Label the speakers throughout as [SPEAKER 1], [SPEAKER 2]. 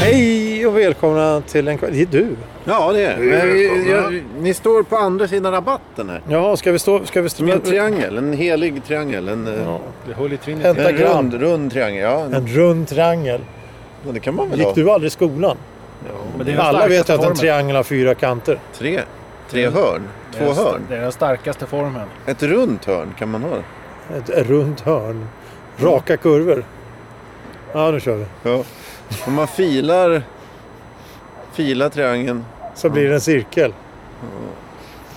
[SPEAKER 1] Hej och välkomna till en kväll. Det är du.
[SPEAKER 2] Ja, det är
[SPEAKER 3] är
[SPEAKER 2] det.
[SPEAKER 3] välkomna.
[SPEAKER 2] Jag- Ni står på andra sidan rabatten här.
[SPEAKER 1] Jaha, ska vi stå... Ska vi stå
[SPEAKER 2] Som en triangel, en helig triangel. En, eh,
[SPEAKER 3] Det håller i Trinity.
[SPEAKER 1] En-
[SPEAKER 2] en rund, rund triangel, ja.
[SPEAKER 1] En rund triangel.
[SPEAKER 2] Men det kan man väl
[SPEAKER 1] Gick
[SPEAKER 2] ha?
[SPEAKER 1] du aldrig i skolan?
[SPEAKER 3] Men det är den
[SPEAKER 1] Alla
[SPEAKER 3] starkaste
[SPEAKER 1] vet ju att en
[SPEAKER 3] formen.
[SPEAKER 1] triangel har fyra kanter.
[SPEAKER 2] Tre, tre hörn,
[SPEAKER 3] Det är
[SPEAKER 2] två
[SPEAKER 3] den sta-
[SPEAKER 2] hörn.
[SPEAKER 3] Det är den starkaste formen.
[SPEAKER 2] Ett runt hörn kan man ha. det?
[SPEAKER 1] Ett runt hörn. Raka kurvor. Ja, nu kör vi.
[SPEAKER 2] Ja. Om man filar, filar triangeln,
[SPEAKER 1] Så blir det en cirkel.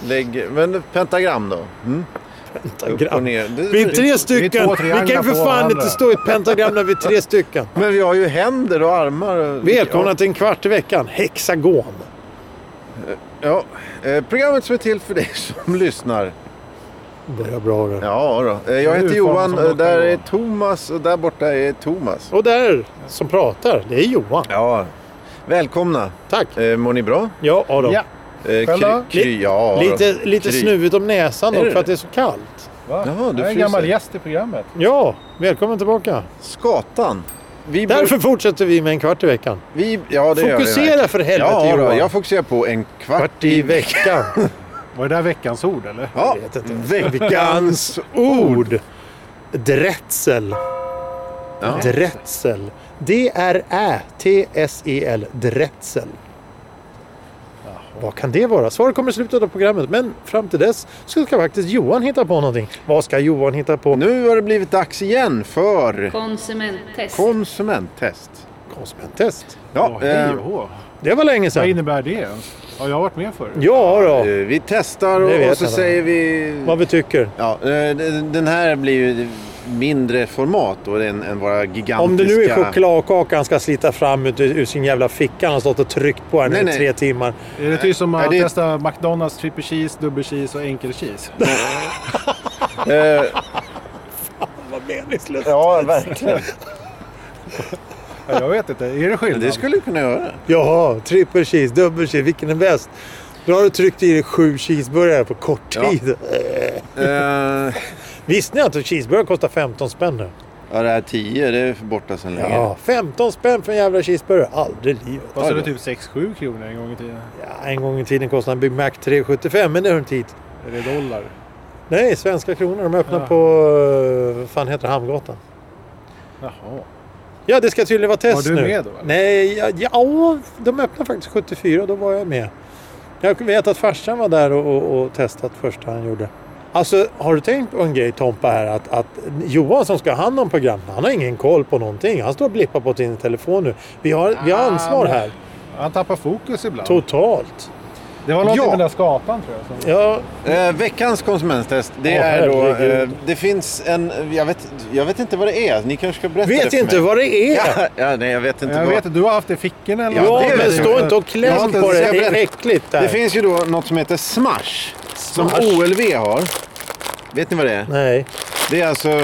[SPEAKER 2] lägger... Men pentagram då? Mm. Upp och
[SPEAKER 1] Pentagram.
[SPEAKER 2] ner. Det-
[SPEAKER 1] Vi är
[SPEAKER 2] det-
[SPEAKER 1] tre stycken.
[SPEAKER 3] två
[SPEAKER 1] Vi kan ju
[SPEAKER 3] trianglar
[SPEAKER 1] för
[SPEAKER 3] på
[SPEAKER 1] fan
[SPEAKER 3] varandra.
[SPEAKER 1] inte stå i ett pentagram när vi är tre stycken.
[SPEAKER 2] Men vi har ju händer och armar. och-
[SPEAKER 1] Välkomna till en kvart i veckan. Hexagon.
[SPEAKER 2] Ja, eh, programmet som är till för dig som lyssnar.
[SPEAKER 1] Börjar bra det.
[SPEAKER 2] Ja, då. Eh, jag
[SPEAKER 3] Det
[SPEAKER 2] heter
[SPEAKER 3] är ju fan
[SPEAKER 2] Johan,
[SPEAKER 3] som
[SPEAKER 2] eh, där
[SPEAKER 3] låter
[SPEAKER 2] är
[SPEAKER 3] Johan.
[SPEAKER 2] Thomas och där borta är Thomas.
[SPEAKER 1] Och där som pratar, det är Johan.
[SPEAKER 2] Ja, välkomna.
[SPEAKER 1] Tack.
[SPEAKER 2] Eh, mår ni bra?
[SPEAKER 1] Ja, Adam.
[SPEAKER 3] Ja.
[SPEAKER 2] Eh, kry,
[SPEAKER 3] då?
[SPEAKER 2] kry, ja, då.
[SPEAKER 1] Lite, lite
[SPEAKER 2] Kry.
[SPEAKER 1] snuvigt om näsan
[SPEAKER 2] Är
[SPEAKER 1] dock
[SPEAKER 2] det
[SPEAKER 1] för att
[SPEAKER 2] det?
[SPEAKER 1] det är så kallt.
[SPEAKER 3] Va?
[SPEAKER 2] Jaha, du
[SPEAKER 3] jag är en
[SPEAKER 2] fryser.
[SPEAKER 3] gammal gäst i programmet.
[SPEAKER 1] Ja, välkommen tillbaka.
[SPEAKER 2] Skatan. Vi bor-
[SPEAKER 1] Därför fortsätter vi med en kvart i veckan.
[SPEAKER 2] vi, ja, det gör vi
[SPEAKER 1] Fokusera
[SPEAKER 2] verkligen.
[SPEAKER 1] för helvete
[SPEAKER 2] Ja, då,
[SPEAKER 1] Johan.
[SPEAKER 2] jag fokuserar på en kvart,
[SPEAKER 1] Kvart i veckan.
[SPEAKER 3] Var det där veckans ord eller?
[SPEAKER 2] Ja,
[SPEAKER 1] vet inte.
[SPEAKER 2] veckans...
[SPEAKER 1] Ord. Drätsel.
[SPEAKER 2] Ja.
[SPEAKER 1] Drätsel. D-R-Ä-T-S-E-L. E Drätsel. Vad kan det vara? Svaret kommer i slutet av programmet. Men fram till dess så ska faktiskt Johan hitta på någonting. Vad ska Johan hitta på?
[SPEAKER 2] Nu har det blivit dags igen för
[SPEAKER 4] Konsumenttest.
[SPEAKER 2] konsumenttest.
[SPEAKER 1] Konsumenttest.
[SPEAKER 2] Ja,
[SPEAKER 3] Åh,
[SPEAKER 2] eh,
[SPEAKER 3] hej och hå.
[SPEAKER 1] Det var länge
[SPEAKER 3] Vad
[SPEAKER 1] sedan.
[SPEAKER 3] innebär det ens? Har jag varit med förr?
[SPEAKER 1] Ja
[SPEAKER 2] eh,
[SPEAKER 1] då,
[SPEAKER 2] vi testar
[SPEAKER 1] Det
[SPEAKER 2] och,
[SPEAKER 1] vet
[SPEAKER 2] och så
[SPEAKER 1] jag.
[SPEAKER 2] säger vi...
[SPEAKER 1] vad vi tycker.
[SPEAKER 2] Ja, eh, den den här blir ju mindre format då än, än våra gigantiska...
[SPEAKER 1] Om det nu är chokladkaka han ska slita fram ut ur sin jävla ficka han har stått och tryckt på här nu
[SPEAKER 2] Nej,
[SPEAKER 1] i
[SPEAKER 2] nej.
[SPEAKER 1] tre timmar.
[SPEAKER 3] Är det typ som
[SPEAKER 2] Är
[SPEAKER 3] att
[SPEAKER 2] det-
[SPEAKER 3] testa McDonalds triple cheese, dubbel cheese och enkel cheese?
[SPEAKER 2] Eh,
[SPEAKER 1] Vad meningslöst.
[SPEAKER 2] ja, verkligen.
[SPEAKER 3] Ja, jag vet inte. Är det skillnad?
[SPEAKER 2] Det skulle du kunna göra.
[SPEAKER 1] Jaha, triple cheese, dubbel cheese, vilken är bäst? Då har du tryckt i dig sju cheeseburgare på kort
[SPEAKER 2] Ja.
[SPEAKER 1] tid.
[SPEAKER 2] Eh,
[SPEAKER 1] Visste ni att cheeseburgare kostar 15 spänn nu?
[SPEAKER 2] ja, det här 10, det är borta sedan länge.
[SPEAKER 1] Ja, 15 spänn för en jävla cheeseburgare? Aldrig i livet.
[SPEAKER 3] Kostade det typ 6-7 kronor en gång i tiden?
[SPEAKER 1] Ja, en gång i tiden kostade en Big Mac 3,75 men det hör inte hit.
[SPEAKER 3] Är det dollar?
[SPEAKER 1] Nej, svenska kronor. De öppnar
[SPEAKER 3] Ja.
[SPEAKER 1] på, eh, vad fan heter det, Hamngatan.
[SPEAKER 3] Jaha.
[SPEAKER 1] Ja, det ska tydligen vara test
[SPEAKER 3] Var
[SPEAKER 1] nu.
[SPEAKER 3] du med då, eller?
[SPEAKER 1] Nej, ja, ja, de öppnade faktiskt 74 då var jag med. Jag vet att farsan var där och, och, och testat första han gjorde. Alltså, har du tänkt på en grej Tompa här? Att, att Johan som ska ha hand om programmet, han har ingen koll på någonting. Han står och blippar på sin telefon nu. Vi har, vi har
[SPEAKER 3] Ah,
[SPEAKER 1] ansvar
[SPEAKER 3] men-
[SPEAKER 1] här.
[SPEAKER 3] Han tappar fokus ibland.
[SPEAKER 1] Totalt.
[SPEAKER 3] Det var något
[SPEAKER 2] Ja.
[SPEAKER 3] med den där skatan tror jag. Som...
[SPEAKER 1] Ja,
[SPEAKER 2] Eh, veckans konsumenttest, det
[SPEAKER 1] Åh,
[SPEAKER 2] är då... Eh,
[SPEAKER 1] herregud.
[SPEAKER 2] det finns en... Jag vet, jag vet inte vad det är. Ni kanske ska berätta
[SPEAKER 1] vet
[SPEAKER 2] det för
[SPEAKER 1] inte
[SPEAKER 2] mig.
[SPEAKER 1] vad det är.
[SPEAKER 2] Ja, ja, nej, jag vet inte
[SPEAKER 3] Jag
[SPEAKER 2] vad...
[SPEAKER 3] vet att du har haft det i fickorna eller
[SPEAKER 2] Ja,
[SPEAKER 1] Ja,
[SPEAKER 3] något.
[SPEAKER 1] men
[SPEAKER 2] det vet
[SPEAKER 1] stå
[SPEAKER 2] jag.
[SPEAKER 1] inte och
[SPEAKER 2] Jag har
[SPEAKER 1] kläm
[SPEAKER 2] inte
[SPEAKER 1] på
[SPEAKER 2] ens
[SPEAKER 1] det. Det
[SPEAKER 2] sett-
[SPEAKER 1] är äckligt där.
[SPEAKER 2] Det finns ju då något som heter Smash. Som
[SPEAKER 1] Smash.
[SPEAKER 2] OLV har. Vet ni vad det är?
[SPEAKER 1] Nej,
[SPEAKER 2] Det är alltså... Eh,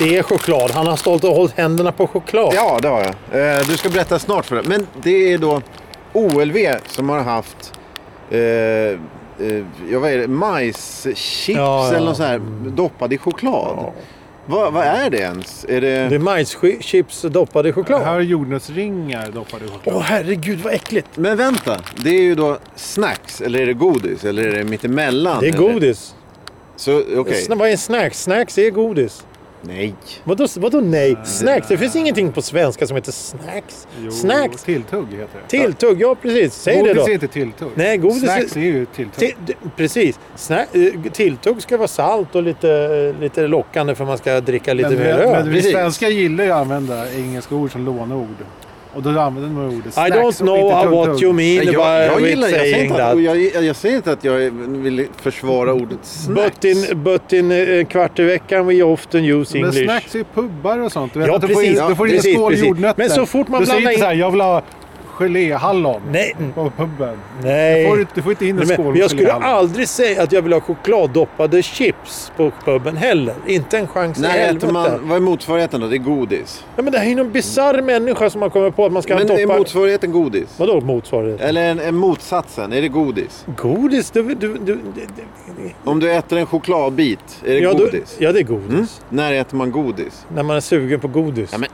[SPEAKER 1] det är choklad. Han har stått och hållit händerna på choklad.
[SPEAKER 2] Ja, det har jag. Eh, Du ska berätta snart för dig. Men det är då OLV som har haft eh, eh, ja, vad är det? majschips
[SPEAKER 1] Ja, ja.
[SPEAKER 2] eller något sånt här doppad i choklad. Vad, vad är det ens? Är det...
[SPEAKER 1] Det är majschips doppade i choklad.
[SPEAKER 3] Det här är jordnötsringar doppade i choklad.
[SPEAKER 1] Åh herregud vad äckligt.
[SPEAKER 2] Men vänta, det är ju då snacks eller är det godis eller är det mittemellan?
[SPEAKER 1] Det är
[SPEAKER 2] eller?
[SPEAKER 1] godis.
[SPEAKER 2] Så okej,
[SPEAKER 1] Sna- Vad är snacks? Snacks är godis.
[SPEAKER 2] nej.
[SPEAKER 1] Vadå, vadå nej? Snacks? Det finns ingenting på svenska som heter snacks.
[SPEAKER 3] Jo,
[SPEAKER 1] snacks?
[SPEAKER 3] Tilltugg heter det.
[SPEAKER 1] Tilltugg, ja precis. Säg
[SPEAKER 3] godis
[SPEAKER 1] det då.
[SPEAKER 3] är inte tilltugg.
[SPEAKER 1] Nej, godis är-
[SPEAKER 3] Snacks är ju tilltugg.
[SPEAKER 1] Till, d- precis. Snack, eh, tilltugg ska vara salt och lite, eh, lite lockande för man ska dricka lite
[SPEAKER 3] men,
[SPEAKER 1] mer
[SPEAKER 3] vi, men
[SPEAKER 1] öl.
[SPEAKER 3] vi
[SPEAKER 2] Precis.
[SPEAKER 3] svenskar gillar ju att använda engelska ord som låneord. Och då använder man ordet
[SPEAKER 1] I
[SPEAKER 3] snacks
[SPEAKER 1] don't
[SPEAKER 3] och inte
[SPEAKER 1] know what
[SPEAKER 3] tilltugg.
[SPEAKER 1] you mean by
[SPEAKER 2] jag, säger
[SPEAKER 1] saying
[SPEAKER 2] inte att,
[SPEAKER 1] that.
[SPEAKER 2] och jag, jag säger inte att jag vill försvara ordet snacks.
[SPEAKER 1] But in, but in eh, kvart i veckan we often use
[SPEAKER 3] Men
[SPEAKER 1] English.
[SPEAKER 3] snacks är ju pubbar och sånt. Du vet
[SPEAKER 1] Ja,
[SPEAKER 3] att du får
[SPEAKER 1] precis.
[SPEAKER 3] in, du får in
[SPEAKER 1] Precis,
[SPEAKER 3] en skål
[SPEAKER 1] precis.
[SPEAKER 3] jordnötter.
[SPEAKER 1] Men så fort man
[SPEAKER 3] du säger
[SPEAKER 1] blandar
[SPEAKER 3] inte
[SPEAKER 1] in-
[SPEAKER 3] så här, jag vill ha geléhallon
[SPEAKER 1] Nej,
[SPEAKER 3] på puben.
[SPEAKER 1] nej.
[SPEAKER 3] Får du, du får inte in en
[SPEAKER 1] Nej, men-
[SPEAKER 3] skål
[SPEAKER 1] men jag
[SPEAKER 3] med
[SPEAKER 1] skulle
[SPEAKER 3] geléhallon.
[SPEAKER 1] aldrig säga att jag vill ha chokladdoppade chips på puben heller. Inte en chans i
[SPEAKER 2] Nej,
[SPEAKER 1] helvete.
[SPEAKER 2] äter man, vad är motsvarigheten då? Det är godis.
[SPEAKER 1] Ja, men det här är ju någon bisarr människa som har kommit på att man ska
[SPEAKER 2] Men
[SPEAKER 1] doppa...
[SPEAKER 2] är motsvarigheten godis?
[SPEAKER 1] Vadå motsvarighet?
[SPEAKER 2] Eller en, en motsatsen, är det godis?
[SPEAKER 1] Godis? Du, du, du, du, du...
[SPEAKER 2] Om du äter en chokladbit, är det
[SPEAKER 1] Ja, du...
[SPEAKER 2] godis?
[SPEAKER 1] ja, det är godis.
[SPEAKER 2] När äter man godis?
[SPEAKER 1] När man är sugen på godis.
[SPEAKER 2] Ja, men,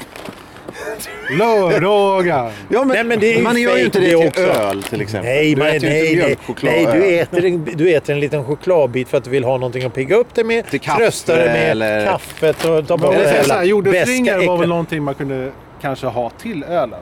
[SPEAKER 3] Lördagar!
[SPEAKER 2] ja, men,
[SPEAKER 1] Nej, men det är ju
[SPEAKER 2] man gör ju
[SPEAKER 1] fake
[SPEAKER 2] inte
[SPEAKER 1] det
[SPEAKER 2] det till
[SPEAKER 1] också.
[SPEAKER 2] öl till exempel.
[SPEAKER 1] Nej,
[SPEAKER 2] du
[SPEAKER 1] man,
[SPEAKER 2] äter ju
[SPEAKER 1] nej,
[SPEAKER 2] inte
[SPEAKER 1] nej,
[SPEAKER 2] mjölkchoklad
[SPEAKER 1] nej du, äter en, du äter en liten chokladbit för att du vill ha någonting att pigga upp dig med.
[SPEAKER 2] Till kaffe
[SPEAKER 1] trösta dig med
[SPEAKER 2] eller-
[SPEAKER 1] kaffet och ta bort
[SPEAKER 3] Eller
[SPEAKER 1] det
[SPEAKER 3] så-
[SPEAKER 1] hela
[SPEAKER 3] så här,
[SPEAKER 1] beska
[SPEAKER 3] Jordnötsringar var väl
[SPEAKER 1] äcklet.
[SPEAKER 3] någonting man kunde kanske ha till ölen.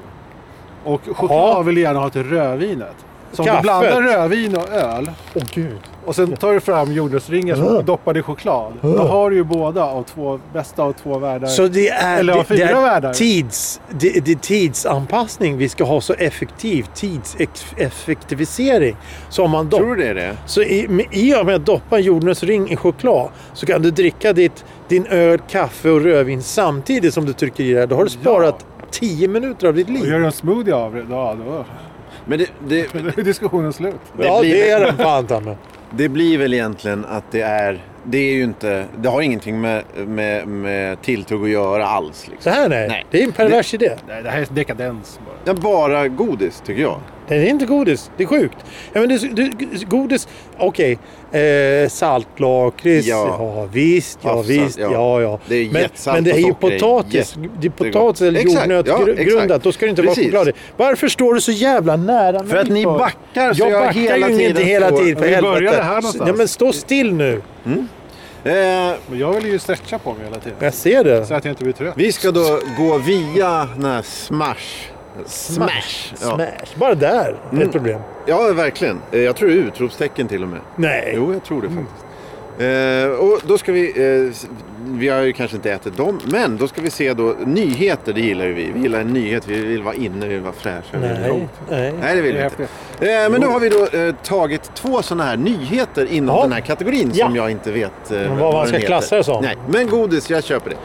[SPEAKER 3] Och choklad
[SPEAKER 1] Ja.
[SPEAKER 3] vill jag gärna ha till rödvinet. Så om
[SPEAKER 1] Kaffet.
[SPEAKER 3] du blandar rödvin och öl
[SPEAKER 1] Åh gud.
[SPEAKER 3] och sen tar du fram jordnötsringar som
[SPEAKER 1] Mm.
[SPEAKER 3] doppade i choklad. Då har du ju båda av två, bästa av två världar.
[SPEAKER 1] Så det är,
[SPEAKER 3] Eller av
[SPEAKER 1] det, det
[SPEAKER 3] fyra
[SPEAKER 1] är
[SPEAKER 3] världar.
[SPEAKER 1] tids, det, det är tidsanpassning vi ska ha så effektiv. Tidseffektivisering. Så om man doppar
[SPEAKER 2] Tror du det är det?
[SPEAKER 1] Så i, med- i och med att doppa en jordnötsring i choklad så kan du dricka ditt, din öl, kaffe och rödvin samtidigt som du trycker i det här. Då har du
[SPEAKER 3] Ja.
[SPEAKER 1] sparat 10 minuter av ditt
[SPEAKER 3] Och
[SPEAKER 1] liv.
[SPEAKER 3] gör du en smoothie av det, ja, då,
[SPEAKER 2] Men det, det,
[SPEAKER 3] då är diskussionen slut.
[SPEAKER 1] Ja,
[SPEAKER 2] blir-
[SPEAKER 1] det är den fan ta mig.
[SPEAKER 2] det blir väl egentligen att det är... Det är ju inte... Det har ingenting med, med, med tilltugg att göra alls. Liksom.
[SPEAKER 1] Så här nej.
[SPEAKER 2] Nej.
[SPEAKER 1] Det är en pervers idé.
[SPEAKER 3] Nej, det här är dekadens bara.
[SPEAKER 2] Ja, bara godis tycker jag.
[SPEAKER 1] Det är inte godis. Det är sjukt. Ja, men det, är- det, godis, okej. Eh, Saltlakrits, ja.
[SPEAKER 2] Ja.
[SPEAKER 1] visst, ja
[SPEAKER 2] Havssalt,
[SPEAKER 1] visst, ja
[SPEAKER 2] ja.
[SPEAKER 1] ja.
[SPEAKER 2] Det är
[SPEAKER 1] men,
[SPEAKER 2] jättesalt
[SPEAKER 1] men det är
[SPEAKER 2] och
[SPEAKER 1] ju
[SPEAKER 2] socker är
[SPEAKER 1] potatis. Det är potatis eller
[SPEAKER 2] Exakt, ja,
[SPEAKER 1] jordnötsgrundat.
[SPEAKER 2] exakt.
[SPEAKER 1] Då ska det inte vara
[SPEAKER 2] Precis.
[SPEAKER 1] choklad i. Varför står du så jävla nära mig?
[SPEAKER 2] För att ni
[SPEAKER 1] för?
[SPEAKER 2] backar så
[SPEAKER 1] Jag
[SPEAKER 2] jag,
[SPEAKER 1] backar
[SPEAKER 2] hela
[SPEAKER 1] ju
[SPEAKER 2] tiden
[SPEAKER 1] inte hela
[SPEAKER 2] står-
[SPEAKER 1] tiden för
[SPEAKER 3] Men vi
[SPEAKER 1] helvete.
[SPEAKER 3] började här någonstans.
[SPEAKER 1] Ja, men stå still nu.
[SPEAKER 2] Eh,
[SPEAKER 3] Men jag vill ju stretcha på mig hela tiden.
[SPEAKER 1] Jag ser
[SPEAKER 3] Så
[SPEAKER 1] det.
[SPEAKER 3] att jag inte blir trött.
[SPEAKER 2] vi ska då gå via den här Smash. Smash. Ja. Mm.
[SPEAKER 1] Smash. Bara där är ett problem.
[SPEAKER 2] ja, verkligen. Eh, Jag tror det är utropstecken till och med.
[SPEAKER 1] Nej.
[SPEAKER 2] Jo, jag tror det faktiskt. Eh, och då ska vi, eh, s- vi har ju kanske inte ätit dem, men då ska vi se då, nyheter det gillar ju vi. Vi gillar en nyhet, vi vill vara inne, vi vill vara fräscha. vi vill vara-
[SPEAKER 1] Nej. Nej.
[SPEAKER 2] Nej, det vill vi inte. Eh, men då har vi då eh, tagit två sådana här nyheter inom
[SPEAKER 1] Ja.
[SPEAKER 2] den här kategorin som
[SPEAKER 1] Ja.
[SPEAKER 2] jag inte vet eh,
[SPEAKER 1] vad
[SPEAKER 2] vad
[SPEAKER 1] man
[SPEAKER 2] den
[SPEAKER 1] ska
[SPEAKER 2] heter.
[SPEAKER 1] klassa det som.
[SPEAKER 2] Nej, men godis, jag köper det.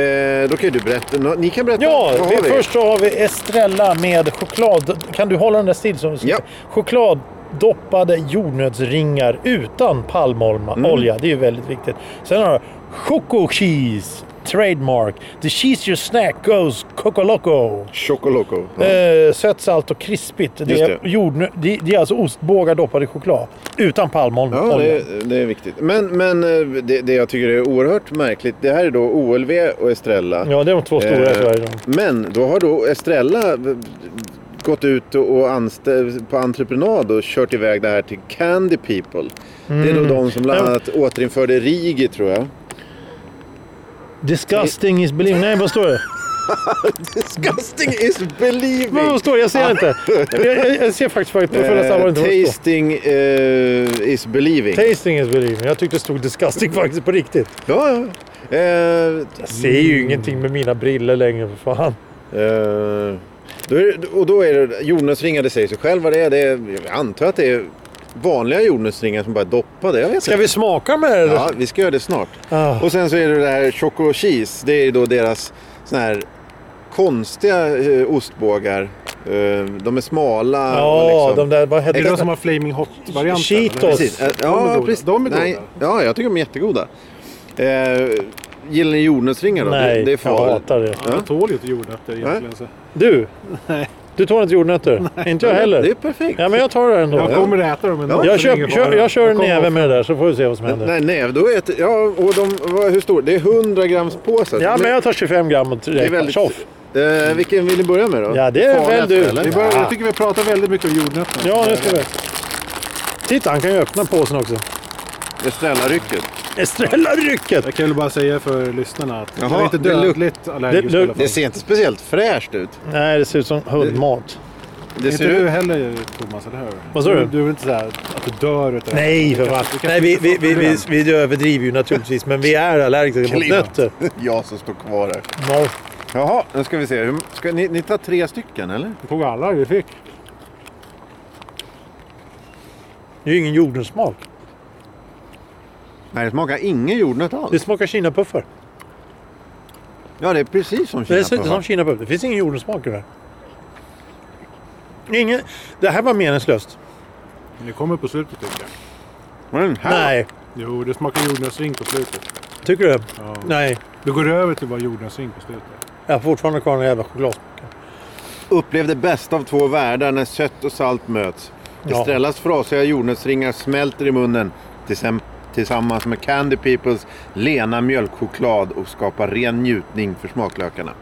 [SPEAKER 2] Eh, då kan ju du berätta, Nå- ni kan berätta.
[SPEAKER 1] Ja,
[SPEAKER 2] vad har
[SPEAKER 1] vi, först så har vi Estrella med choklad... Kan du hålla den där still? Som
[SPEAKER 2] Ja.
[SPEAKER 1] Chokladdoppade jordnötsringar utan
[SPEAKER 2] Mm.
[SPEAKER 1] palmolja. Det är ju väldigt viktigt. Sen har du Choco Cheese Trademark. The cheese your snack goes Coco Loco.
[SPEAKER 2] Choco Loco. Ja.
[SPEAKER 1] Eh, sött, salt och krispigt. Det
[SPEAKER 2] Just
[SPEAKER 1] är,
[SPEAKER 2] det.
[SPEAKER 1] jordnö- det, det är alltså ostbågar doppade i choklad. Utan palmolja.
[SPEAKER 2] Ja, det, det är viktigt. Men, men eh, det, det jag tycker är oerhört märkligt, det här är då OLV och Estrella.
[SPEAKER 1] Ja, det är de två stora i
[SPEAKER 2] Eh,
[SPEAKER 1] Sverige.
[SPEAKER 2] Men då har då Estrella v- gått ut och och anstä- på entreprenad och kört iväg det här till Candy People. Det är då de som bland
[SPEAKER 1] Mm. Ja.
[SPEAKER 2] annat återinförde Rigi tror jag.
[SPEAKER 1] Disgusting is believing. Nej, vad står det?
[SPEAKER 2] Disgusting is believing!
[SPEAKER 1] Vad står det? Jag ser inte. Jag, jag, jag ser faktiskt på förra
[SPEAKER 2] Eh,
[SPEAKER 1] samma inte vad det står.
[SPEAKER 2] tasting eh, is believing.
[SPEAKER 1] Tasting is believing. Jag tyckte det stod disgusting faktiskt på riktigt.
[SPEAKER 2] ja, ja. Eh,
[SPEAKER 1] Jag ser ju
[SPEAKER 3] Mm.
[SPEAKER 1] ingenting med mina briller längre för fan.
[SPEAKER 2] Eh, då är, det- och då är det jordnötsringar, det säger sig själv vad det är. Det är jag antar att det är vanliga jordnötsringar som bara är doppade. Jag vet
[SPEAKER 1] Ska
[SPEAKER 2] inte.
[SPEAKER 1] vi smaka med det? eller?
[SPEAKER 2] Ja, vi ska göra det snart.
[SPEAKER 1] Ah.
[SPEAKER 2] Och sen så är det det här choco cheese. Det är då deras sån här konstiga eh, ostbågar. Eh, de är smala.
[SPEAKER 1] Ja,
[SPEAKER 2] och liksom...
[SPEAKER 1] de där, vad hette
[SPEAKER 3] Är det de som
[SPEAKER 1] det?
[SPEAKER 3] har Flaming Hot-varianten?
[SPEAKER 1] Cheetos.
[SPEAKER 3] eller?
[SPEAKER 2] Precis. Eh,
[SPEAKER 3] De är
[SPEAKER 2] Ja,
[SPEAKER 3] goda.
[SPEAKER 2] precis.
[SPEAKER 3] De är goda.
[SPEAKER 2] Nej, ja, jag tycker de är jättegoda. Eh, gillar ni jordnötsringar då?
[SPEAKER 1] Nej,
[SPEAKER 2] det, det är
[SPEAKER 1] jag
[SPEAKER 2] farligt.
[SPEAKER 1] hatar det.
[SPEAKER 3] Ja, jag tål ju inte jordnötter egentligen. Så.
[SPEAKER 1] Du? Du tål inte jordnötter? Inte jag
[SPEAKER 2] Det
[SPEAKER 1] heller.
[SPEAKER 2] är perfekt.
[SPEAKER 1] Ja, men jag tar det ändå.
[SPEAKER 3] Jag kommer att äta dem ändå.
[SPEAKER 1] Jag,
[SPEAKER 3] Det är
[SPEAKER 1] köp,
[SPEAKER 3] ingen
[SPEAKER 1] kör,
[SPEAKER 3] fara.
[SPEAKER 1] jag kör en
[SPEAKER 3] kommer
[SPEAKER 1] näve med det där så får vi se vad som händer.
[SPEAKER 2] Nej, nej, då är det, ja, och de, vad, hur stor? Det är 100 grams påsar.
[SPEAKER 1] Ja, men jag tar 25 gram och
[SPEAKER 2] det är
[SPEAKER 1] direkt.
[SPEAKER 2] väldigt,
[SPEAKER 1] Tjoff!
[SPEAKER 2] eh, vilken vill ni börja med då? Ah,
[SPEAKER 1] Ja, det är
[SPEAKER 2] Farligaste,
[SPEAKER 1] väl du.
[SPEAKER 2] eller?
[SPEAKER 3] Vi börjar, jag tycker vi pratar väldigt mycket om jordnötterna.
[SPEAKER 1] Ja, nu ska vi. Titta, han kan ju öppna påsen också.
[SPEAKER 2] Det snälla rycket.
[SPEAKER 1] Estrella rycket!
[SPEAKER 3] Jag kan väl bara säga för lyssnarna att
[SPEAKER 2] Jaha,
[SPEAKER 3] jag är inte
[SPEAKER 2] det luk-
[SPEAKER 3] dödligt allergisk
[SPEAKER 1] det
[SPEAKER 3] i
[SPEAKER 1] luk-
[SPEAKER 3] alla fall.
[SPEAKER 2] Det ser inte speciellt fräscht ut.
[SPEAKER 1] Nej, det ser ut som hundmat.
[SPEAKER 2] Det
[SPEAKER 3] inte
[SPEAKER 2] ser
[SPEAKER 3] du
[SPEAKER 2] ut...
[SPEAKER 3] heller Thomas, eller hur?
[SPEAKER 1] Vad sa du?
[SPEAKER 3] Du är väl inte sådär att du dör utav
[SPEAKER 1] Nej, för fan. Nej, vi, vi, vi, vi, vi överdriver ju naturligtvis, men vi är allergiska mot
[SPEAKER 2] Klimat.
[SPEAKER 1] nötter.
[SPEAKER 2] Jag som står kvar här.
[SPEAKER 1] No.
[SPEAKER 2] Jaha, nu ska vi se. Hur- Ska ni, ni tar tre stycken eller?
[SPEAKER 3] Vi tog alla vi fick.
[SPEAKER 1] Det är ju ingen jordnötssmak.
[SPEAKER 2] Nej, det smakar ingen jordnöt
[SPEAKER 1] Det
[SPEAKER 2] alls.
[SPEAKER 1] smakar kinapuffar.
[SPEAKER 2] Ja, det är precis som
[SPEAKER 1] Det ser ut som
[SPEAKER 2] kinapuffar.
[SPEAKER 1] kinapuffar. Det finns ingen jordnötssmak i det här. Ingen, det här var meningslöst.
[SPEAKER 3] Det kommer på slutet tycker jag.
[SPEAKER 2] Men här,
[SPEAKER 1] Nej,
[SPEAKER 3] Jo, det smakar jordnötsring på slutet.
[SPEAKER 1] tycker du?
[SPEAKER 3] Ja.
[SPEAKER 1] Nej,
[SPEAKER 3] Det går över till bara jordnötsring på slutet.
[SPEAKER 1] jag har fortfarande kvar den jävla chokladsmaken.
[SPEAKER 2] Upplev det bästa av två världar när sött och salt möts.
[SPEAKER 1] Ja.
[SPEAKER 2] Estrellas frasiga jordnötsringar smälter i munnen tillsam- tillsammans med Candy Peoples lena mjölkchoklad och skapar ren njutning för smaklökarna.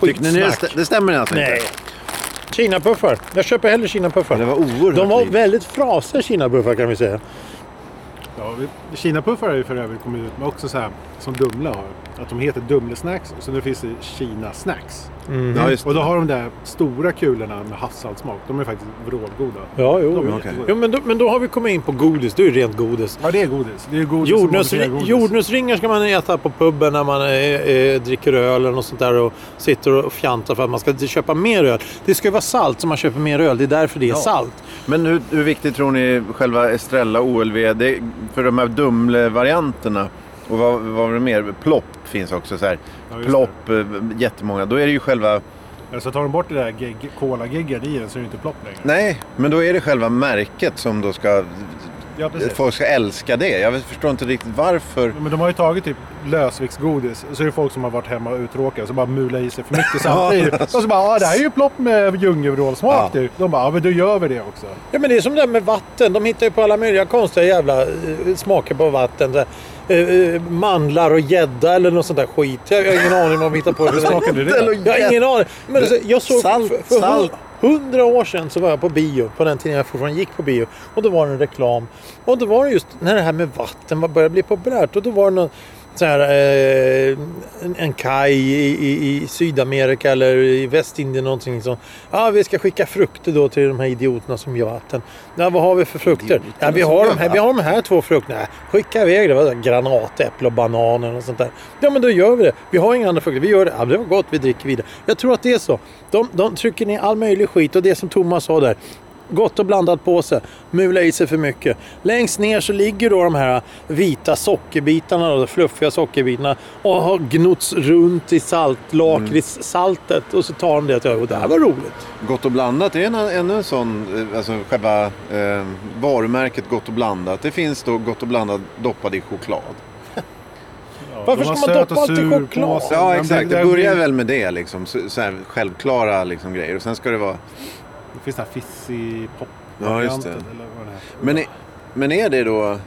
[SPEAKER 2] Tyckte ni det,
[SPEAKER 1] Skitsnack.
[SPEAKER 2] stä- det stämmer alltså
[SPEAKER 1] Nej.
[SPEAKER 2] inte?
[SPEAKER 1] Kinapuffar. Jag köper hellre kinapuffar.
[SPEAKER 2] Det var oerhört
[SPEAKER 1] De var
[SPEAKER 2] likt.
[SPEAKER 1] väldigt frasiga kinapuffar kan vi säga.
[SPEAKER 3] Ja, vi- Kinapuffar har ju för övrigt kommit ut med också så här som Dumla har. Att de heter Dumlesnacks så nu finns det Kina-snacks.
[SPEAKER 2] Ja, just
[SPEAKER 3] Och då har de där stora kulorna med havssaltsmak. De är faktiskt vrålgoda.
[SPEAKER 1] Ja, jo.
[SPEAKER 3] De är
[SPEAKER 1] jo.
[SPEAKER 2] okej.
[SPEAKER 1] jo men, då, men då har vi kommit in på godis. Det är ju rent godis.
[SPEAKER 3] Ja, det är godis. Det är godis som
[SPEAKER 1] Jordnöts,
[SPEAKER 3] modifiera godis.
[SPEAKER 1] jordnötsringar ska man äta på puben när man eh, eh, dricker öl eller något sånt där och sitter och fjantar för att man ska inte köpa mer öl. Det ska ju vara salt så man köper mer öl. Det är därför det är salt.
[SPEAKER 2] Men hur, hur viktigt tror ni själva Estrella OLV det, är för de här Dumle-varianterna? Och vad, vad var det mer? Plopp finns också så här.
[SPEAKER 3] Ja, just
[SPEAKER 2] Plopp, eh, jättemånga. Då är det ju själva...
[SPEAKER 3] Ja, så tar de bort det där gegg- cola-geggar i den så är det inte plopp längre.
[SPEAKER 2] Nej, men då är det själva märket som då ska...
[SPEAKER 3] Ja, precis.
[SPEAKER 2] Folk ska älska det. Jag förstår inte riktigt varför.
[SPEAKER 3] Ja, Men de har ju tagit typ lösviktsgodis. Så är det folk som har varit hemma och uttråkade så bara mulat i sig för mycket samtidigt. och så bara, ah, det här är ju plopp med
[SPEAKER 2] Ja.
[SPEAKER 3] ljungevrålsmak ja. De bara, ja men då gör vi det också.
[SPEAKER 1] Ja, men det är som det där med vatten. De hittar ju på alla möjliga konstiga jävla eh, smaker på vatten. Så, här, eh, eh, mandlar och gädda eller något sånt där skit. Jag, jag har ingen aning om vad de hittar på.
[SPEAKER 3] Hur smakade det?
[SPEAKER 2] Eller-
[SPEAKER 1] Jag har ingen aning. Men alltså, jag såg
[SPEAKER 2] Salt,
[SPEAKER 1] för, för
[SPEAKER 2] salt.
[SPEAKER 1] hundra år sedan så var jag på bio, på den tiden jag fortfarande gick på bio. Och då var det en reklam. Och då var det just när det här med vatten var- började bli populärt. Och då var det någon, så här, eh, en, en kaj i, i, i Sydamerika eller i Västindien någonting som Ja, vi ska skicka frukter då till de här idioterna som gör vatten. Ja, vad har vi för frukter?
[SPEAKER 2] Idioterna
[SPEAKER 1] Ja, vi
[SPEAKER 2] som
[SPEAKER 1] har
[SPEAKER 2] gör
[SPEAKER 1] de här, vi har de här två frukterna. Nej, skicka iväg det. Vad är det? Granatäpple och bananer och sånt där. Ja, men då gör vi det. Vi har inga andra frukter. Vi gör det. Ja, det var gott. Vi dricker vidare. Jag tror att det är så. De, de trycker ner all möjlig skit och det som Thomas sa där. Gott och blandat påse. Mula i sig för mycket. Längst ner så ligger då de här vita sockerbitarna, då, de fluffiga sockerbitarna och har gnots runt i salt, Mm. lakritssaltet. Och så tar de det och "Åh, det här var roligt.
[SPEAKER 2] Gott och blandat är en, ännu en sån, eh, alltså själva eh, varumärket Gott och blandat. Det finns då Gott och blandat doppad i choklad.
[SPEAKER 3] Ja,
[SPEAKER 1] Varför
[SPEAKER 3] de har
[SPEAKER 1] ska man
[SPEAKER 3] söt
[SPEAKER 1] doppa
[SPEAKER 3] och
[SPEAKER 1] allt i
[SPEAKER 3] sur
[SPEAKER 1] choklad?
[SPEAKER 3] påse.
[SPEAKER 2] Ja,
[SPEAKER 3] Men
[SPEAKER 2] exakt. Det
[SPEAKER 3] där
[SPEAKER 2] börjar
[SPEAKER 3] blir-
[SPEAKER 2] väl med det liksom. Så, så här självklara liksom, grejer. Och sen ska det vara...
[SPEAKER 3] Det finns den här fizzy pop
[SPEAKER 2] Ja, just det.
[SPEAKER 3] Eller vad den heter.
[SPEAKER 2] Men, är- men är det då...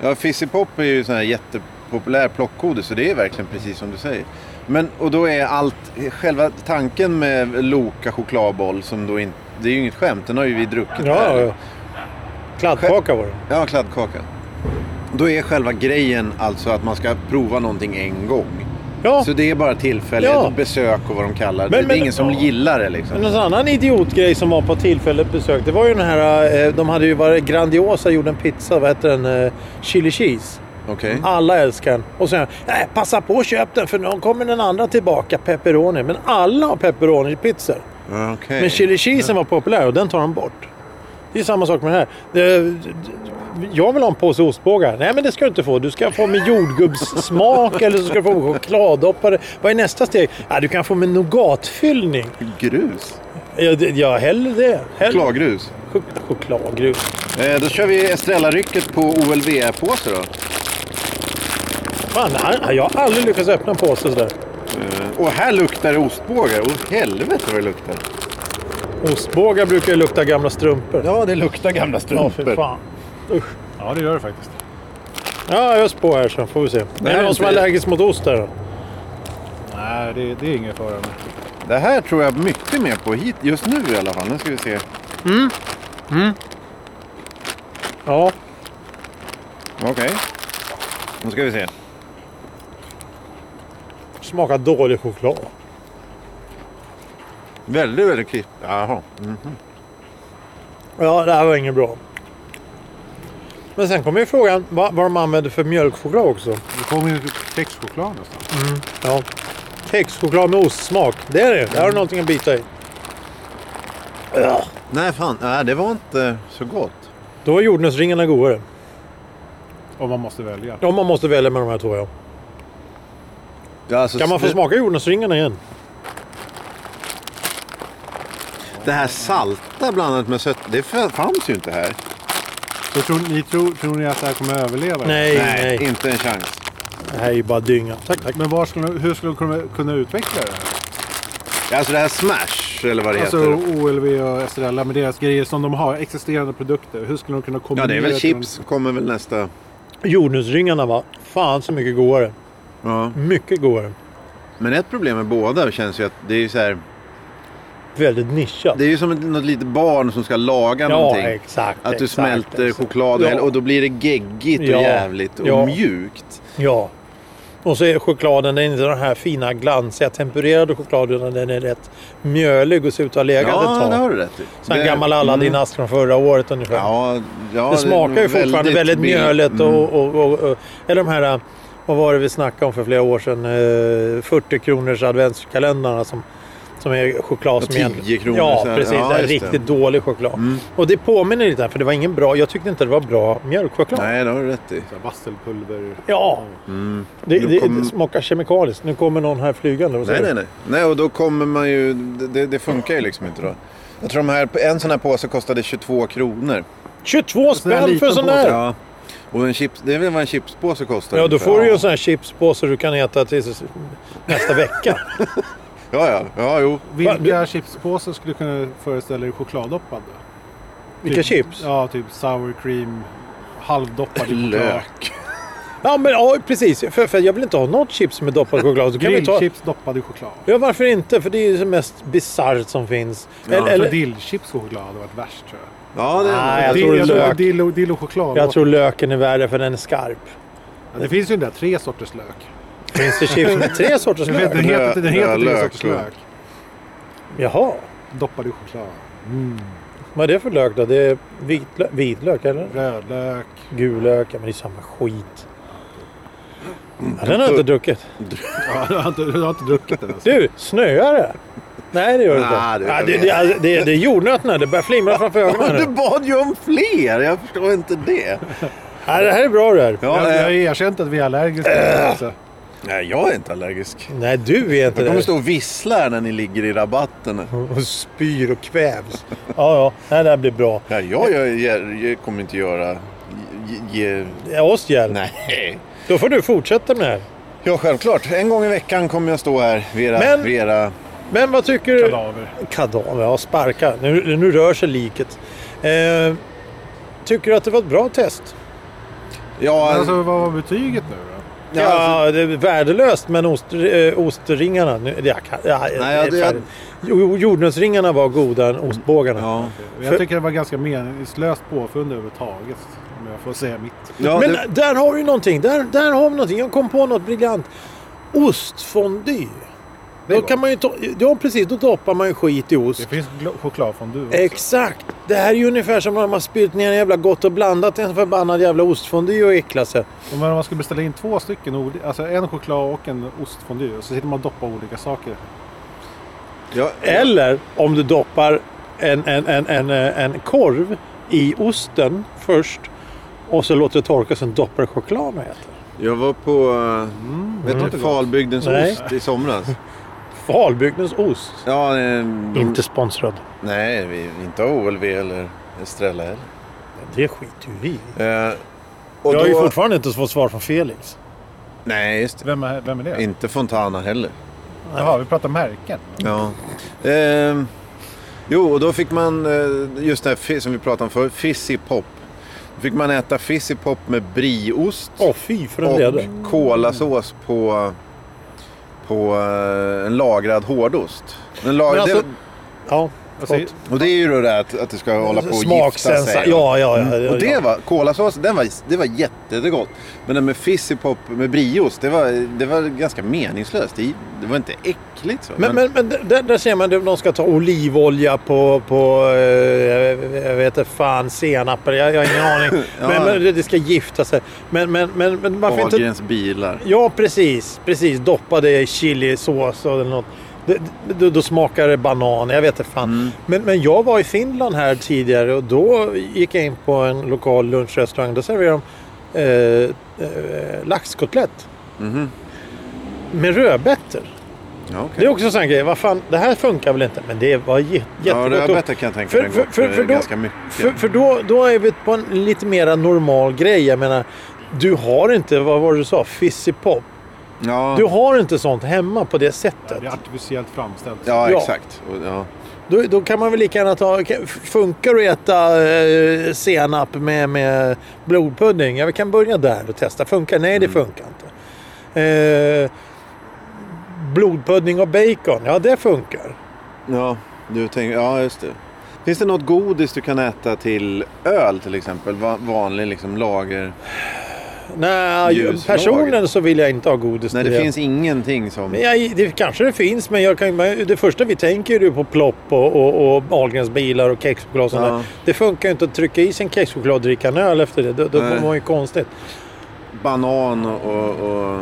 [SPEAKER 2] Ja, Fizzypop är ju sån här jättepopulär plockgodis. Så det är verkligen precis som du säger. Men, och då är allt... Själva tanken med Loka chokladboll som då inte... Det är ju inget skämt. Den har ju vi druckit
[SPEAKER 1] Ja,
[SPEAKER 2] här.
[SPEAKER 1] ja. Kladdkaka var det.
[SPEAKER 2] Ja, kladdkaka. Då är själva grejen alltså att man ska prova någonting en gång.
[SPEAKER 1] Ja.
[SPEAKER 2] Så det är bara tillfällighet
[SPEAKER 1] Ja.
[SPEAKER 2] och besök och vad de kallar det.
[SPEAKER 1] Men-
[SPEAKER 2] det är
[SPEAKER 1] men-
[SPEAKER 2] ingen som
[SPEAKER 1] ja.
[SPEAKER 2] gillar det liksom.
[SPEAKER 1] Men någon annan idiotgrej som var på tillfälligt besök, det var ju den här, eh, de hade ju varit grandiosa, gjorde en pizza, vad heter den, eh, chili cheese.
[SPEAKER 2] Okej.
[SPEAKER 1] Alla älskar den. Och sen, nej passa på och köp den för någon kommer den andra tillbaka, pepperoni. Men alla har pepperoni i pizzor.
[SPEAKER 2] Ja, okej.
[SPEAKER 1] Men chili cheesen var populär och den tar de bort. Det är samma sak med det här. Det, jag vill ha en påse ostbågar. Nej, men det ska du inte få. Du ska få med jordgubbssmak eller så ska du få med chokladdoppade. Vad är nästa steg? Ja, du kan få med nougatfyllning.
[SPEAKER 2] Grus.
[SPEAKER 1] Ja, det- ja hellre det. Hellre.
[SPEAKER 2] Chokladgrus.
[SPEAKER 1] Chok- Chokladgrus.
[SPEAKER 2] Eh, då kör vi Estrella-rycket på OLV-påse då.
[SPEAKER 1] Fan, nej, jag har aldrig lyckats öppna en påse sådär.
[SPEAKER 2] Eh, och här luktar det ostbågar. Åh helvete vad det luktar.
[SPEAKER 1] Ostbågar brukar ju lukta gamla strumpor.
[SPEAKER 2] Ja, det luktar gamla
[SPEAKER 1] Ja, för fan. Usch.
[SPEAKER 3] Ja, det gör det faktiskt.
[SPEAKER 1] Ja, ös på här så får vi se. Det
[SPEAKER 2] här
[SPEAKER 1] är
[SPEAKER 2] är
[SPEAKER 1] någon som är
[SPEAKER 2] inte-
[SPEAKER 1] allergisk mot ost där då.
[SPEAKER 3] Nej, det, det är ingen fara. med.
[SPEAKER 2] Det här tror jag mycket mer på hit, just nu i alla fall. Nu ska vi se.
[SPEAKER 1] Ja.
[SPEAKER 2] Okej. Nu ska vi se.
[SPEAKER 1] Smakar dålig choklad.
[SPEAKER 2] Väldigt, väldigt klipp. Jaha. Mm.
[SPEAKER 1] Ja, det här var inget bra. Men sen kommer ju frågan vad, vad de använder för mjölkchoklad också.
[SPEAKER 3] Det kommer ju kexchoklad nästan.
[SPEAKER 1] Ja. Kexchoklad med ostsmak. Det är det. Där har du någonting att bita i. Ja.
[SPEAKER 2] Nej, fan. Nej, det var inte så gott.
[SPEAKER 1] Då är jordnötsringarna godare.
[SPEAKER 3] Om man måste välja.
[SPEAKER 1] Om man måste välja mellan de här två ja.
[SPEAKER 2] Ja, alltså,
[SPEAKER 1] Kan man få
[SPEAKER 2] det-
[SPEAKER 1] smaka jordnötsringarna igen?
[SPEAKER 2] Det här salta blandat med sött, det fanns ju inte här.
[SPEAKER 3] Så tror, ni tror, tror ni att det här kommer att överleva?
[SPEAKER 1] Nej, nej,
[SPEAKER 2] Inte en chans.
[SPEAKER 1] Det här är ju bara dynga. Tack, tack.
[SPEAKER 3] Men var skulle, hur skulle de kunna, kunna utveckla det här?
[SPEAKER 2] Alltså det här Smash, eller vad det
[SPEAKER 3] Alltså
[SPEAKER 2] heter.
[SPEAKER 3] OLV och Estrella med deras grejer som de har, existerande produkter. Hur skulle de kunna kombinera
[SPEAKER 2] Ja, det är väl
[SPEAKER 3] till en-
[SPEAKER 2] chips, kommer väl nästa.
[SPEAKER 1] Jordnötsringarna va? Fan så mycket godare.
[SPEAKER 2] Ja.
[SPEAKER 1] Mycket godare.
[SPEAKER 2] Men ett problem med båda känns ju att det är ju så här.
[SPEAKER 1] Väldigt nischat.
[SPEAKER 2] Det är ju som ett, något litet barn som ska laga
[SPEAKER 1] ja,
[SPEAKER 2] någonting.
[SPEAKER 1] exakt.
[SPEAKER 2] Att du
[SPEAKER 1] exakt,
[SPEAKER 2] smälter
[SPEAKER 1] exakt.
[SPEAKER 2] choklad
[SPEAKER 1] Ja.
[SPEAKER 2] och då blir det geggigt och
[SPEAKER 1] Ja.
[SPEAKER 2] jävligt och
[SPEAKER 1] Ja.
[SPEAKER 2] mjukt.
[SPEAKER 1] Ja. Och så är chokladen, den är inte den här fina glansiga tempererade chokladen utan den är rätt mjölig och ser ut att ha legat ett
[SPEAKER 2] Ja,
[SPEAKER 1] tag.
[SPEAKER 2] det har du rätt i.
[SPEAKER 1] Så en
[SPEAKER 2] Det- mm.
[SPEAKER 1] gammal Aladdin-ask från förra året ungefär.
[SPEAKER 2] Ja, ja,
[SPEAKER 1] det smakar ju
[SPEAKER 2] nog
[SPEAKER 1] fortfarande väldigt
[SPEAKER 2] billigt.
[SPEAKER 1] mjöligt och,
[SPEAKER 2] Mm.
[SPEAKER 1] och, och, och... Eller de här... eh, Vad var det vi snackade om för flera år sedan? Eh, 40 kronors adventskalendrarna som, som är choklad
[SPEAKER 2] Ja,
[SPEAKER 1] som
[SPEAKER 2] 10
[SPEAKER 1] egentligen-
[SPEAKER 2] kronor,
[SPEAKER 1] Ja,
[SPEAKER 2] så här.
[SPEAKER 1] precis.
[SPEAKER 2] Ja,
[SPEAKER 1] det är
[SPEAKER 2] just det. Mm.
[SPEAKER 1] riktigt dålig choklad. Och det påminner lite, för det var ingen bra... Jag tyckte inte det var bra mjölkchoklad.
[SPEAKER 2] Nej, det har du rätt i.
[SPEAKER 3] Så här Vasselpulver.
[SPEAKER 1] Ja, det,
[SPEAKER 2] Nu
[SPEAKER 1] det,
[SPEAKER 2] kom-
[SPEAKER 1] det smakar kemikaliskt. Nu kommer någon här flygande. Vad säger
[SPEAKER 2] Nej,
[SPEAKER 1] du?
[SPEAKER 2] nej, nej. Nej, och då kommer man ju... det- Det, det funkar ju liksom inte då. Jag tror de här, en sån här påse kostade 22 kronor.
[SPEAKER 1] 22
[SPEAKER 3] sån här
[SPEAKER 1] spänn för
[SPEAKER 3] liten
[SPEAKER 1] sån
[SPEAKER 3] påse,
[SPEAKER 1] här!
[SPEAKER 2] Ja. Och en chips, det är väl vad en chipspåse kostar.
[SPEAKER 1] Ja, då
[SPEAKER 2] ungefär.
[SPEAKER 1] får du ju en sån här chipspåse du kan äta till nästa vecka.
[SPEAKER 2] Ja, ja. Ja, jo.
[SPEAKER 3] Vilka chipspåsar skulle kunna föreställa er chokladdoppad? då?
[SPEAKER 1] Vilka
[SPEAKER 3] typ,
[SPEAKER 1] chips? Ja.
[SPEAKER 3] Ja, typ sour cream, halvdoppad i choklad.
[SPEAKER 2] Lök.
[SPEAKER 1] men ja, precis. För, för jag vill inte ha något chips med doppad choklad. Så kan vi ta...
[SPEAKER 3] Grillchips doppad i choklad. Alltså,
[SPEAKER 1] Ja, varför inte? För det är ju det mest bisarrt som finns. eller,
[SPEAKER 3] Eller...
[SPEAKER 1] eller,
[SPEAKER 3] Dillchips och choklad hade varit värst tror jag.
[SPEAKER 2] Ja, det
[SPEAKER 1] Nej,
[SPEAKER 2] det-
[SPEAKER 1] tror det är lök.
[SPEAKER 3] dill, och, dill och choklad.
[SPEAKER 1] jag tror löken är värre för den är skarp.
[SPEAKER 3] Ja, det finns ju den där tre sorters lök.
[SPEAKER 1] Finns det chips med tre sorters
[SPEAKER 3] Jag vet, den
[SPEAKER 1] lök?
[SPEAKER 3] heter, den heter tre
[SPEAKER 2] Lök,
[SPEAKER 3] sorters
[SPEAKER 2] tror jag.
[SPEAKER 3] lök.
[SPEAKER 1] Jaha.
[SPEAKER 3] Doppad i choklad.
[SPEAKER 1] Vad är det för lök då? Det är vitlök, vitlök eller?
[SPEAKER 3] Rödlök.
[SPEAKER 1] Gul lök. Ja, men det är samma skit. Ja, den har jag inte druckit.
[SPEAKER 3] Ja, du, har inte, du har inte druckit den alltså.
[SPEAKER 1] Du, snöar det? Nej, det gör det inte.
[SPEAKER 2] Nej,
[SPEAKER 1] Ja,
[SPEAKER 2] det gör det
[SPEAKER 1] det,
[SPEAKER 2] inte.
[SPEAKER 1] det, alltså, det, det är jordnötterna. Det börjar flimra framför ögonen.
[SPEAKER 2] Men
[SPEAKER 1] här
[SPEAKER 2] du
[SPEAKER 1] nu.
[SPEAKER 2] bad ju om fler! Jag förstår inte det.
[SPEAKER 1] Ja, det här är bra det här.
[SPEAKER 2] Ja,
[SPEAKER 3] jag, jag har
[SPEAKER 2] eh,
[SPEAKER 3] erkänt att vi är allergiska. Alltså.
[SPEAKER 2] nej, jag är inte allergisk. Eh.
[SPEAKER 1] Nej, du är inte
[SPEAKER 2] Jag kommer
[SPEAKER 1] det.
[SPEAKER 2] stå och vissla här när ni ligger i rabatten.
[SPEAKER 1] Och spyr och kvävs. Ja, ja. Nej, det här blir bra.
[SPEAKER 2] Ja, jag, jag, jag, jag kommer inte göra... Ge, ge,
[SPEAKER 1] Det är oss hjälp.
[SPEAKER 2] nej.
[SPEAKER 1] Då får du fortsätta med det här.
[SPEAKER 2] Ja, självklart. En gång i veckan kommer jag stå här vid era...
[SPEAKER 1] Men-
[SPEAKER 2] vid era
[SPEAKER 1] Men vad tycker du?
[SPEAKER 3] Kadaver.
[SPEAKER 1] Kadaver, ja sparka. Nu, nu rör sig liket. Eh, tycker du att det var ett bra test?
[SPEAKER 2] ja,
[SPEAKER 3] Alltså, vad var betyget nu då?
[SPEAKER 1] Ja,
[SPEAKER 2] ja, alltså,
[SPEAKER 1] det är värdelöst men ost, eh, ostringarna... Nu, det, jag kan, ja,
[SPEAKER 2] Nej, jag-
[SPEAKER 1] det är färdigt. Jo, jordnötsringarna var godare än ostbågarna.
[SPEAKER 2] ja.
[SPEAKER 3] Jag tycker det var ganska meningslöst påfund överhuvudtaget. Om jag får säga mitt.
[SPEAKER 2] ja
[SPEAKER 1] men
[SPEAKER 2] det,
[SPEAKER 1] där har vi någonting. Där, där har vi någonting. Jag kom på något briljant. Ostfondy.
[SPEAKER 3] är
[SPEAKER 1] Då
[SPEAKER 3] gott.
[SPEAKER 1] kan man ju ta, ja, precis. Då doppar man ju skit i ost.
[SPEAKER 3] Det finns gl- chokladfondue också.
[SPEAKER 1] Exakt! Det här är ju ungefär som när man har spytt ner en jävla gott och blandat i en förbannad jävla ostfondue och äcklat sig.
[SPEAKER 3] Om man skulle beställa in två stycken, ol- alltså en choklad och en ostfondue. Och så sitter man och doppar olika saker.
[SPEAKER 2] ja,
[SPEAKER 1] Eller om du doppar en, en, en, en, eh, en korv i osten först och så låter det torka sen doppar du chokladen och äter.
[SPEAKER 2] jag var på eh, vet du,
[SPEAKER 3] låter gott.
[SPEAKER 2] Falbygdens
[SPEAKER 1] Nej.
[SPEAKER 2] ost i somras.
[SPEAKER 1] Falbygdens ost.
[SPEAKER 2] Ja, ehm,
[SPEAKER 1] Inte sponsrad.
[SPEAKER 2] Nej, vi, inte av OLV eller Estrella heller.
[SPEAKER 1] Det skiter ju vi i.
[SPEAKER 2] Eh,
[SPEAKER 1] Jag
[SPEAKER 2] och då,
[SPEAKER 1] har ju fortfarande inte fått svar från Felix.
[SPEAKER 2] Nej, just det.
[SPEAKER 3] Vem är, vem är det?
[SPEAKER 2] Inte Fontana heller.
[SPEAKER 3] Jaha, vi pratar märken.
[SPEAKER 2] Ja. Ehm, jo, och då fick man, eh, just det här fi- som vi pratade om förut, Fizzy Pop. Då fick man äta Fizzy Pop med brieost
[SPEAKER 1] Åh fy för en
[SPEAKER 2] och
[SPEAKER 1] leder.
[SPEAKER 2] kolasås på, på eh, en lagrad hårdost. En lag...
[SPEAKER 1] Men alltså-
[SPEAKER 2] det,
[SPEAKER 1] Ja.
[SPEAKER 3] Alltså,
[SPEAKER 1] gott.
[SPEAKER 2] och det är ju då det här att, att det ska hålla på och gifta
[SPEAKER 1] Smaksensa.
[SPEAKER 2] sig. Mm.
[SPEAKER 1] Ja, ja, ja. ja,
[SPEAKER 2] Och det
[SPEAKER 1] ja.
[SPEAKER 2] var, kolasås, den var, det var jätte- jättegott. Men den med fizzy pop med brieost, det var, det var ganska meningslöst. Det, det var inte äckligt så.
[SPEAKER 1] Men, men, men där, där ser man att de ska ta olivolja på, på eh, jag vet inte fan, senapper. Jag, jag har ingen aning.
[SPEAKER 2] Ja.
[SPEAKER 1] men, men det- det ska gifta sig. Men, men, men, men varför inte...
[SPEAKER 2] Ahlgrens bilar.
[SPEAKER 1] Ja, precis. Precis. Doppa det i chilisås eller något. Det, det- då, då smakar det banan. Jag vet inte fan.
[SPEAKER 2] Mm.
[SPEAKER 1] Men, men jag var i Finland här tidigare och då gick jag in på en lokal lunchrestaurang. Där serverade de eh, eh, laxkotlett. Med rödbetor.
[SPEAKER 2] mhm. Ja, okej.
[SPEAKER 1] Det är också en sån här grej, vad fan, det här funkar väl inte? Men det var jä-
[SPEAKER 2] ja,
[SPEAKER 1] jättegott. Och-
[SPEAKER 2] rödbetor kan jag tänka
[SPEAKER 1] För-
[SPEAKER 2] mig
[SPEAKER 1] för-
[SPEAKER 2] går
[SPEAKER 1] för- för då-
[SPEAKER 2] ganska mycket.
[SPEAKER 1] För, för då, då är vi på en lite mera normal grej. Jag menar, du har inte, vad var det du sa, fissipop.
[SPEAKER 2] ja,
[SPEAKER 1] Du har inte sånt hemma på det sättet.
[SPEAKER 3] Det är artificiellt framställt.
[SPEAKER 2] ja,
[SPEAKER 1] ja.
[SPEAKER 2] exakt. Och, ja.
[SPEAKER 1] Då, då kan man väl lika gärna ta... kan- Funkar det att äta eh, senap med, med blodpudding? Ja, vi kan börja där och testa. Funkar? Nej, det
[SPEAKER 2] Mm.
[SPEAKER 1] funkar inte. Eh, blodpudding och bacon? Ja, det funkar.
[SPEAKER 2] Ja, du tänker, ja, just det. Finns det något godis du kan äta till öl till exempel? Va- Vanlig liksom, lager?
[SPEAKER 1] Nej, ju-
[SPEAKER 2] Ljuslager.
[SPEAKER 1] personligen så vill jag inte ha godis
[SPEAKER 2] Nej, det
[SPEAKER 1] till det.
[SPEAKER 2] finns ingenting som...
[SPEAKER 1] Men jag, det kanske det finns, men jag kan, men det första vi tänker är ju på plopp och, och, och Ahlgrens bilar och kexchoklad och sånt
[SPEAKER 2] Ja.
[SPEAKER 1] där. Det funkar ju inte att trycka i sig en kexchoklad och dricka en öl efter det. Då, då
[SPEAKER 2] Nej.
[SPEAKER 1] mår man ju konstigt.
[SPEAKER 2] Banan och... och, och,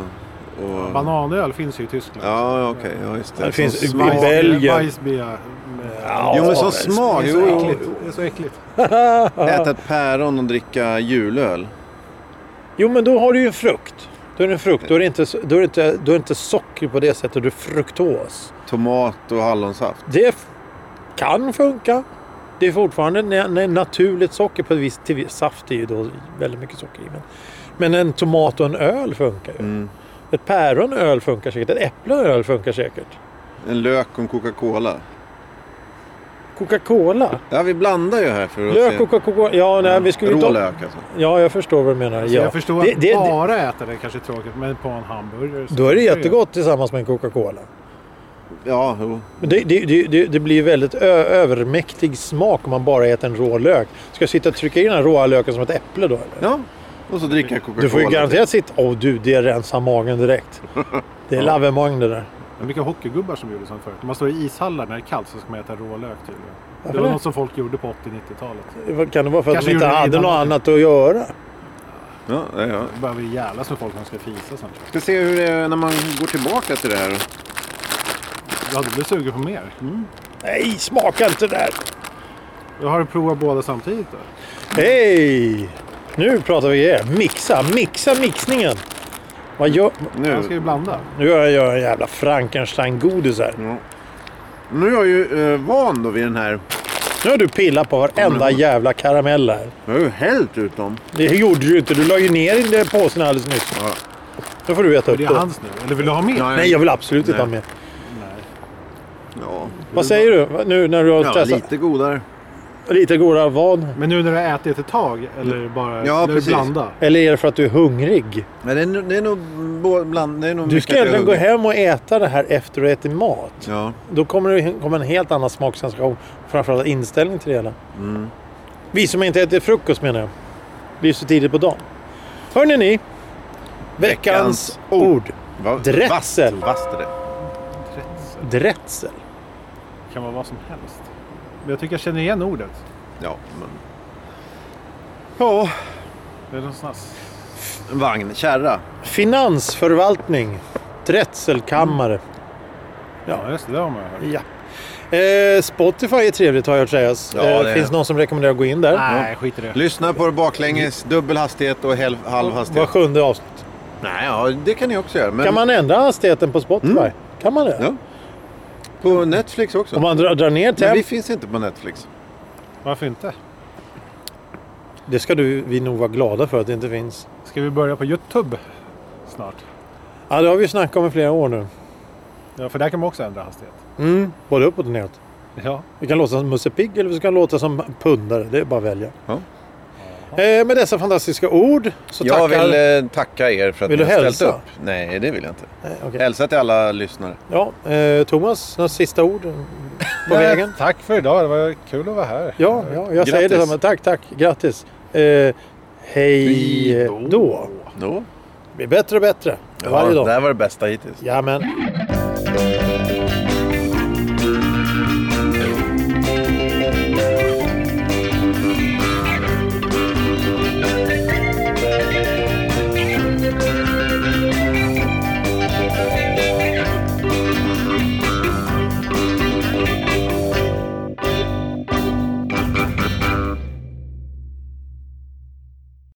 [SPEAKER 2] och...
[SPEAKER 3] Bananöl finns ju i Tyskland.
[SPEAKER 2] Ja, okej. Ja, just det.
[SPEAKER 1] Det finns
[SPEAKER 2] Som
[SPEAKER 1] i
[SPEAKER 2] smak.
[SPEAKER 1] Belgien.
[SPEAKER 3] Bajsbea.
[SPEAKER 1] Ja,
[SPEAKER 2] Jo, men
[SPEAKER 1] det är
[SPEAKER 2] som
[SPEAKER 1] så
[SPEAKER 2] smak.
[SPEAKER 3] Eh, det, är
[SPEAKER 2] Jo,
[SPEAKER 3] så
[SPEAKER 2] jo.
[SPEAKER 3] äckligt. det är så äckligt.
[SPEAKER 2] Äta ett päron och dricka julöl.
[SPEAKER 1] Jo, men då har du ju en frukt. Då är det en frukt. Då är det inte, då är det inte, då är det inte socker på det sättet. Du är fruktos.
[SPEAKER 2] Tomat och hallonsaft.
[SPEAKER 1] Det f- kan funka. Det är fortfarande na- na- naturligt socker på ett visst... Till, saft är ju då väldigt mycket socker i. Men, men en tomat och en öl funkar ju.
[SPEAKER 2] Mm.
[SPEAKER 1] Ett päron och öl funkar säkert. Ett äpple och öl funkar säkert.
[SPEAKER 2] En lök och en Coca-Cola.
[SPEAKER 1] Coca-Cola.
[SPEAKER 2] Ja, vi blandar ju här för att
[SPEAKER 1] Lök
[SPEAKER 2] se.
[SPEAKER 1] och Coca-Cola. Ja, nej, vi skulle
[SPEAKER 2] Rå
[SPEAKER 1] inte... ha-
[SPEAKER 2] lök alltså.
[SPEAKER 1] Ja, jag förstår vad du menar.
[SPEAKER 3] Så
[SPEAKER 1] ja.
[SPEAKER 3] jag förstår
[SPEAKER 1] Det-
[SPEAKER 3] att
[SPEAKER 1] det- det-
[SPEAKER 3] bara äta det kanske är tråkigt, men på en hamburgare. så
[SPEAKER 1] Då är det
[SPEAKER 3] funkar
[SPEAKER 1] jättegott tillsammans med en Coca-Cola.
[SPEAKER 2] Ja, jo.
[SPEAKER 1] Men Det, det, det, det, det blir väldigt ö- övermäktig smak om man bara äter en rå lök. Ska jag sitta och trycka i den här råa löken som ett äpple då? Eller?
[SPEAKER 2] Ja, och så dricka Coca-Cola.
[SPEAKER 1] du får ju garanterat sitta... Åh du, det rensar magen direkt. Det är
[SPEAKER 3] typ. Ja.
[SPEAKER 1] lavemang det där.
[SPEAKER 3] Det var mycket hockeygubbar som gjorde sånt förut. När man står i ishallar när det är kallt så ska man äta rålök tydligen.
[SPEAKER 1] Varför
[SPEAKER 3] Det var
[SPEAKER 1] det?
[SPEAKER 3] något som folk gjorde på 80-90-talet.
[SPEAKER 1] Vad Kan det vara för att
[SPEAKER 3] Kanske
[SPEAKER 1] de inte
[SPEAKER 3] gjorde det
[SPEAKER 1] hade
[SPEAKER 3] innan.
[SPEAKER 1] något annat att göra?
[SPEAKER 2] Ja, ja, ja.
[SPEAKER 3] Då börjar vi jävlas med folk som ska fisa sen.
[SPEAKER 2] Ska se hur det är när man går tillbaka till det här.
[SPEAKER 3] Ja, du blir sugen på mer.
[SPEAKER 1] Nej, smaka inte där!
[SPEAKER 3] Jag har du provat båda samtidigt då?
[SPEAKER 1] Hej! Nu pratar vi grejer. Mixa, mixa mixningen! Vad gör...
[SPEAKER 3] Jag ska
[SPEAKER 2] Nu,
[SPEAKER 3] ju blanda.
[SPEAKER 1] Nu gör jag- gör jag en jävla Frankenstein-godis här.
[SPEAKER 2] nu är jag ju eh, van då vid den här.
[SPEAKER 1] Nu har du pillat på varenda jävla karamell här.
[SPEAKER 2] Jag har ju hällt ut dem.
[SPEAKER 1] Det gjorde du ju inte. Du la ju ner i den där påsen alldeles nyss.
[SPEAKER 2] Ja.
[SPEAKER 1] Då får du äta upp
[SPEAKER 3] Det
[SPEAKER 1] det.
[SPEAKER 3] är hans nu. Eller vill du ha mer?
[SPEAKER 1] Nej, jag vill absolut inte
[SPEAKER 2] Nej.
[SPEAKER 1] ha med.
[SPEAKER 2] Ja,
[SPEAKER 1] Vad säger du Va- nu när du har
[SPEAKER 2] ja,
[SPEAKER 1] testat?
[SPEAKER 2] lite godare.
[SPEAKER 1] Lite. godare vad?
[SPEAKER 3] Men nu när du har ätit ett tag eller
[SPEAKER 1] Mm.
[SPEAKER 3] bara
[SPEAKER 2] Ja,
[SPEAKER 3] när du
[SPEAKER 2] precis.
[SPEAKER 3] blanda?
[SPEAKER 1] Eller är det för att du är hungrig?
[SPEAKER 2] Men det är, nog- det är nog bo- bland... Det är nog
[SPEAKER 1] Du
[SPEAKER 2] mycket
[SPEAKER 1] ska
[SPEAKER 2] att jag
[SPEAKER 1] egentligen gå
[SPEAKER 2] hugger.
[SPEAKER 1] hem och äta det här efter du har ätit mat.
[SPEAKER 2] Ja.
[SPEAKER 1] Då kommer det kommer en helt annan smaksensation. Framförallt inställning till det hela.
[SPEAKER 2] Mm.
[SPEAKER 1] Vi som inte äter frukost menar jag. Det är ju så tidigt på dagen. Hörrni ni. Veckans
[SPEAKER 2] Veckans
[SPEAKER 1] ord.
[SPEAKER 2] Va?
[SPEAKER 1] Dressel.
[SPEAKER 2] Vasst, vasst är det.
[SPEAKER 3] Rätt.
[SPEAKER 1] Drätsel.
[SPEAKER 3] Det kan vara vad som helst. Men jag tycker jag känner igen ordet.
[SPEAKER 2] Ja, men... Ja,
[SPEAKER 3] Det är någon sån här...
[SPEAKER 2] en vagn. Kärra.
[SPEAKER 1] Finansförvaltning. Drätselkammare.
[SPEAKER 3] Ja, just det. Det har man ju hört.
[SPEAKER 2] Mm.
[SPEAKER 1] Ja. Eh, Spotify är trevligt har jag hört sägas.
[SPEAKER 2] Ja,
[SPEAKER 1] eh,
[SPEAKER 2] det är
[SPEAKER 1] finns
[SPEAKER 2] det.
[SPEAKER 1] någon som rekommenderar att gå in där.
[SPEAKER 3] Nej, skit i det.
[SPEAKER 2] Lyssna på det baklänges, dubbel hastighet och halv, halv
[SPEAKER 1] Var
[SPEAKER 2] hastighet.
[SPEAKER 1] sjunde avsnitt.
[SPEAKER 2] Nej, ja, det kan ni också göra. Men
[SPEAKER 1] Kan man ändra hastigheten på Spotify?
[SPEAKER 2] Mm.
[SPEAKER 1] Kan man det?
[SPEAKER 2] Ja. På Netflix också.
[SPEAKER 1] Om man drar, drar ner temp...
[SPEAKER 2] Men vi finns inte på Netflix.
[SPEAKER 3] Varför inte?
[SPEAKER 1] Det ska du, vi nog vara glada för att det inte finns.
[SPEAKER 3] Ska vi börja på Youtube snart?
[SPEAKER 1] Ja, det har vi ju snackat om i flera år nu.
[SPEAKER 3] Ja, för där kan man också ändra hastighet.
[SPEAKER 1] Mm. Både uppåt och neråt.
[SPEAKER 3] Ja.
[SPEAKER 1] Vi kan låta som Musse Pigg eller vi kan låta som pundare. Det är bara att välja.
[SPEAKER 2] Ja.
[SPEAKER 1] Eh, med dessa fantastiska ord så
[SPEAKER 2] Jag
[SPEAKER 1] tackar...
[SPEAKER 2] vill eh, tacka er för att
[SPEAKER 1] Vill
[SPEAKER 2] ni
[SPEAKER 1] du
[SPEAKER 2] har
[SPEAKER 1] hälsa?
[SPEAKER 2] ställt upp. Nej, det vill jag inte.
[SPEAKER 1] Eh, okej.
[SPEAKER 2] Hälsa till alla lyssnare.
[SPEAKER 1] Ja, eh, Thomas, några sista ord på vägen?
[SPEAKER 3] Tack för idag. Det var kul att vara här.
[SPEAKER 1] Ja, ja jag säger
[SPEAKER 2] Grattis.
[SPEAKER 1] detsamma. Tack, tack. Grattis. Eh, hej då.
[SPEAKER 2] Då?
[SPEAKER 1] Det blir bättre och bättre
[SPEAKER 2] Ja,
[SPEAKER 1] varje
[SPEAKER 2] det
[SPEAKER 1] dag.
[SPEAKER 2] här var det bästa hittills.
[SPEAKER 1] Jajamän.